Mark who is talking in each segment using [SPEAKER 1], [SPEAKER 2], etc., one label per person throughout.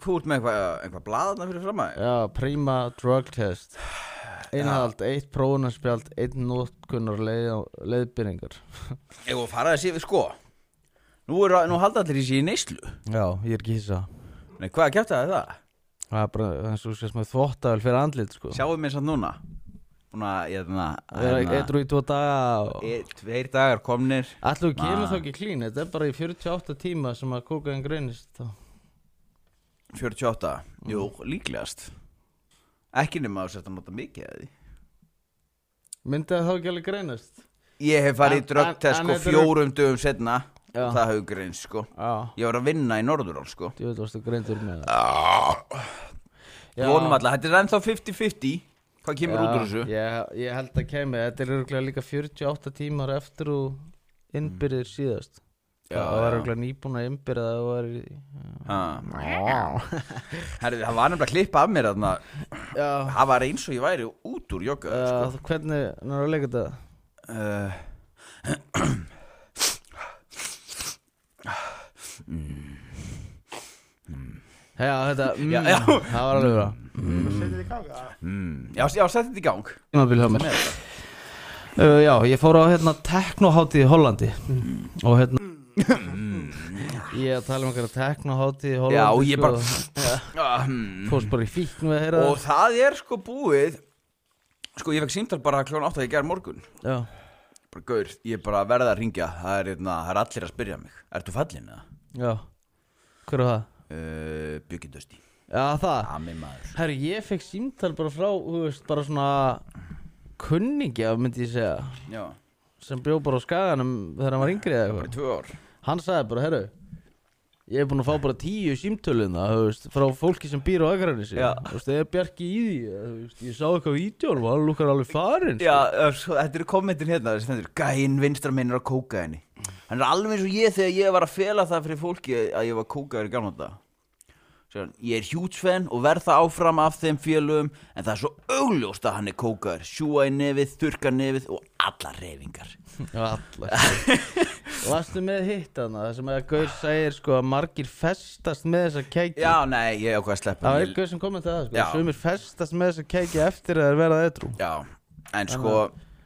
[SPEAKER 1] Þú ert með eitthvað eitthva blaðna fyrir fram að
[SPEAKER 2] Já, Prima Drug Test Einhald, eitt prófunarspjald, einn nótkunnar leið, leiðbyrningar
[SPEAKER 1] Ég var að fara að sé við sko Nú, er, nú halda allir í sér í neyslu
[SPEAKER 2] Já, ég er ekki hissa
[SPEAKER 1] Nei, hvað kjátt að það?
[SPEAKER 2] Það er bara, eins og sést með þvottavel fyrir andlit sko
[SPEAKER 1] Sjáum mér samt núna Núna, ég
[SPEAKER 2] Það er
[SPEAKER 1] er
[SPEAKER 2] eitthvað í tvo daga
[SPEAKER 1] þannig Tveir dagar komnir
[SPEAKER 2] Alltaf kemur
[SPEAKER 1] Ma.
[SPEAKER 2] þá ekki klín, þetta er bara í 48 tíma sem að kókaðin greinist þá.
[SPEAKER 1] 48 Jú, líklegast Ekki nema að setja að nota mikið að því
[SPEAKER 2] Myndi það þá ekki alveg greinast?
[SPEAKER 1] Ég hef farið í
[SPEAKER 2] En- en-
[SPEAKER 1] drögtest
[SPEAKER 2] en
[SPEAKER 1] sko
[SPEAKER 2] þetta eru-
[SPEAKER 1] fjórum dögum setna
[SPEAKER 2] Já.
[SPEAKER 1] og það hafði greins sko
[SPEAKER 2] Já,
[SPEAKER 1] Ég var að vinna í Norðurál sko
[SPEAKER 2] ég veit varstu greindur með það Já.
[SPEAKER 1] Vonum alltaf, þetta er ennþá 50-50 Hvað kemur út úr þessu?
[SPEAKER 2] Ég, ég held að kemur, þetta er örgulega líka 48 tímar eftir og innbyrðir síðast
[SPEAKER 1] Mm. Já,
[SPEAKER 2] Það var
[SPEAKER 1] já.
[SPEAKER 2] örgulega nýbúin að innbyrða það var í...
[SPEAKER 1] Ha.
[SPEAKER 2] Já,
[SPEAKER 1] Ah. Herri, það var nefnilega að klippa af mér þarna
[SPEAKER 2] já.
[SPEAKER 1] Það var eins og ég væri út úr jogga
[SPEAKER 2] Uh, Hvernig, náður að leika þetta?
[SPEAKER 1] sko. uh,
[SPEAKER 2] Já, þetta, mm,
[SPEAKER 1] Já, já.
[SPEAKER 2] það var alveg bra
[SPEAKER 3] Setið í ganga
[SPEAKER 1] mm, Já, já settu þetta í gang
[SPEAKER 2] Tímabil hjá mér
[SPEAKER 1] Með þetta.
[SPEAKER 2] uh, Já, ég fór á hérna teknohátíð í Hollandi
[SPEAKER 1] Mm.
[SPEAKER 2] Og hérna Ég að tala um einhverja teknohátíð í
[SPEAKER 1] Já,
[SPEAKER 2] Hollandi
[SPEAKER 1] ég
[SPEAKER 2] sko.
[SPEAKER 1] bara Ah, mm.
[SPEAKER 2] Fórst bara í fíkn við að heyra
[SPEAKER 1] Og það er sko búið Sko, ég fekk símtal bara klón átt að ég ger morgun
[SPEAKER 2] það Já,
[SPEAKER 1] Bara gaur, ég er bara að verða að ringja Það er, einna, það er allir að spyrja mig Ertu fallin eða?
[SPEAKER 2] já Hver var það?
[SPEAKER 1] Uh, Byggindösti
[SPEAKER 2] Já, það
[SPEAKER 1] Amin maður
[SPEAKER 2] Herru, ég fekk símtal bara frá, þú veist, bara svona kunningja, myndi ég segja
[SPEAKER 1] Já,
[SPEAKER 2] sem bjó bara á skaganum þegar hann var yngri eða
[SPEAKER 1] bara í
[SPEAKER 2] eitthvað
[SPEAKER 1] tvö ár
[SPEAKER 2] hann sagði bara, herru ég er búinn að fá bara tíu símtölina þú veist, frá fólki sem býr á aðgræni sig
[SPEAKER 1] Já.
[SPEAKER 2] þú veist, það er bjarki í því þú veist, ég sá eitthvað á vídjónum og hann lukkar alveg sko. farin
[SPEAKER 1] Já, eh, svo, þetta eru kommentin hérna þessi stendur, gæinn vinstra minn er að kóka henni Hann er alveg eins og ég þegar ég var að fela það fyrir fólki að ég var kókaður í gamla þetta Sér, Ég er hjútsfenn og verð það áfram af þeim félögum en það er svo augljóst að hann er kókaður sjúa í nefið, þurka nefið og allar reyfingar
[SPEAKER 2] allar varstu með hitt hana, það sem að Gaur segir sko að margir festast með þessa keiki
[SPEAKER 1] Já, nei, ég ákvað að sleppa
[SPEAKER 2] það var
[SPEAKER 1] henni.
[SPEAKER 2] eitthvað sem komið til það sko,
[SPEAKER 1] Já.
[SPEAKER 2] sumir festast með þessa keiki eftir að þeir verða edru
[SPEAKER 1] Já, en sko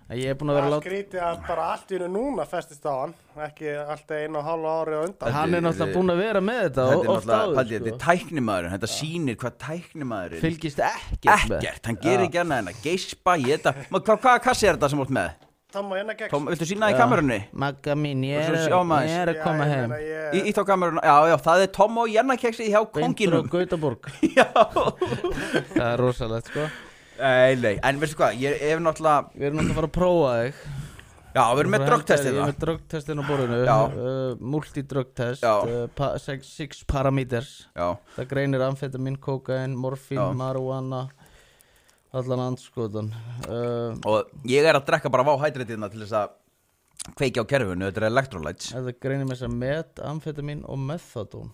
[SPEAKER 2] En ég er búinn að vera að
[SPEAKER 3] Það er
[SPEAKER 2] láta
[SPEAKER 3] skrítið að bara allt í hennu núna festist á hann Ekki alltaf einu og hálfa ári á undan
[SPEAKER 2] Hann er náttúrulega búinn að vera með þetta
[SPEAKER 1] Þetta er
[SPEAKER 2] og oft
[SPEAKER 1] náttúrulega,
[SPEAKER 2] áður
[SPEAKER 1] Paldi, þetta
[SPEAKER 2] sko.
[SPEAKER 1] er tæknimaðurinn Þetta sýnir hvað tæknimaðurinn
[SPEAKER 2] Fylgist ekkert með.
[SPEAKER 1] Ekkert, hann gerir ekki annað en að geispa, geta Hvað hva kassi er þetta sem út með?
[SPEAKER 3] Tom og Jenna gegn
[SPEAKER 1] Tom, viltu sína það í kamerunni?
[SPEAKER 2] Magga mín, ég
[SPEAKER 1] Og
[SPEAKER 2] er,
[SPEAKER 1] svo sjá maður.
[SPEAKER 2] ég er að koma heim
[SPEAKER 1] Í, ítt á kamerunni, já, já, það er Tom og Jenna keksi hjá
[SPEAKER 2] Beintur á
[SPEAKER 1] konginum
[SPEAKER 2] Gautaborg
[SPEAKER 1] Já
[SPEAKER 2] Það er rosalegt sko
[SPEAKER 1] Nei, nei, en veistu hvað, ég er náttúrulega
[SPEAKER 2] Við erum náttúrulega að fara að prófa þig
[SPEAKER 1] Já, við erum með hérna.
[SPEAKER 2] Þú
[SPEAKER 1] drögtestið
[SPEAKER 2] helgar- Ég er
[SPEAKER 1] það
[SPEAKER 2] með drugtestin á borðinu
[SPEAKER 1] Já.
[SPEAKER 2] uh, Multidrugtest
[SPEAKER 1] Já.
[SPEAKER 2] uh, pa sex, six parameters
[SPEAKER 1] Já,
[SPEAKER 2] Það greinir amfetamin, kokain, morfín,
[SPEAKER 1] Já.
[SPEAKER 2] marihuana Allan andskotan uh,
[SPEAKER 1] og ég er að drekka bara váhætritina til þess að kveikja á kerfinu, þetta er electrolytes
[SPEAKER 2] Það greinir með þess að met, amfetamin og methadón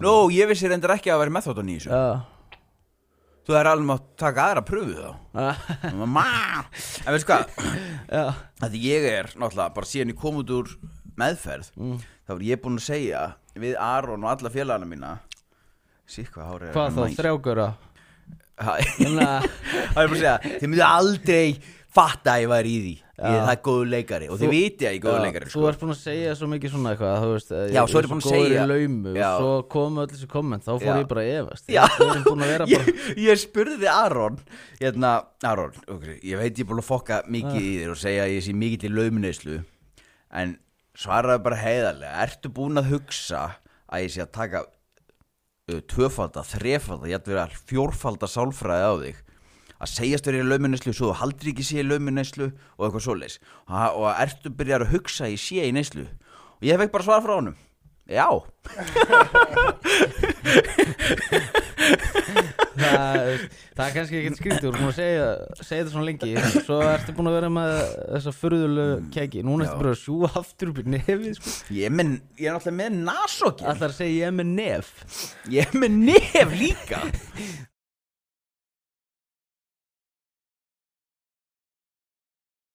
[SPEAKER 1] Nú, ég vissi reyndir ekki að vera methodon í þessu
[SPEAKER 2] Já
[SPEAKER 1] Þú er alveg að taka aðra pröfu þá Mamma En veistu hvað,
[SPEAKER 2] Já
[SPEAKER 1] að ég er náttúrulega bara síðan ég kom út úr meðferð
[SPEAKER 2] Mm.
[SPEAKER 1] þá er ég búinn að segja við Aron og alla félagana mína sík hvað hárið er
[SPEAKER 2] Hvað þá,
[SPEAKER 1] mæ-
[SPEAKER 2] þrjágöra?
[SPEAKER 1] Ha-
[SPEAKER 2] Hérna-
[SPEAKER 1] Það er bara að segja, þið myndi aldrei fatta að ég væri í því ég, það er góður leikari og þið viti að ég er góður
[SPEAKER 2] Já,
[SPEAKER 1] leikari sko.
[SPEAKER 2] Þú ert búin að segja svo mikið svona eitthvað þú veist, eh,
[SPEAKER 1] Já, svo er ég búinn að segja-
[SPEAKER 2] Góður í laumu
[SPEAKER 1] Já.
[SPEAKER 2] og svo komu öll þessi komment Þá fór
[SPEAKER 1] Já.
[SPEAKER 2] ég bara að efast
[SPEAKER 1] Já.
[SPEAKER 2] Við erum búin að vera bara
[SPEAKER 1] ég, ég spurði Aron hérna, Aron, ok, ég veit ég er búin að fokka mikið í þér og segja að ég sé mikið til laumineyslu en svaraði bara heiðarlega ertu búin að hugsa að ég sé að taka uh, tvöfalda, þrefalda, ég ætti verið að fjórfalda sálfræði á þig að segjast verið í laumineyslu svo þú haldir ekki sé í laumineyslu og eitthvað svoleiðis og, og að ertu byrjar að hugsa að ég sé í neyslu og ég fekk bara svara frá honum já,
[SPEAKER 2] Það, þú veist, það er kannski ekkert skrítið Þú erum búin að segja, segja þetta svona lengi Svo ertu búin að vera með þessa furðulegu
[SPEAKER 1] Mm.
[SPEAKER 2] keki Núna ertu bara að sjúa aftur upp í nefið sko.
[SPEAKER 1] ég er, með, ég er náttúrulega með nasokir
[SPEAKER 2] Allar að segja ég er með nef
[SPEAKER 1] Ég er með nef líka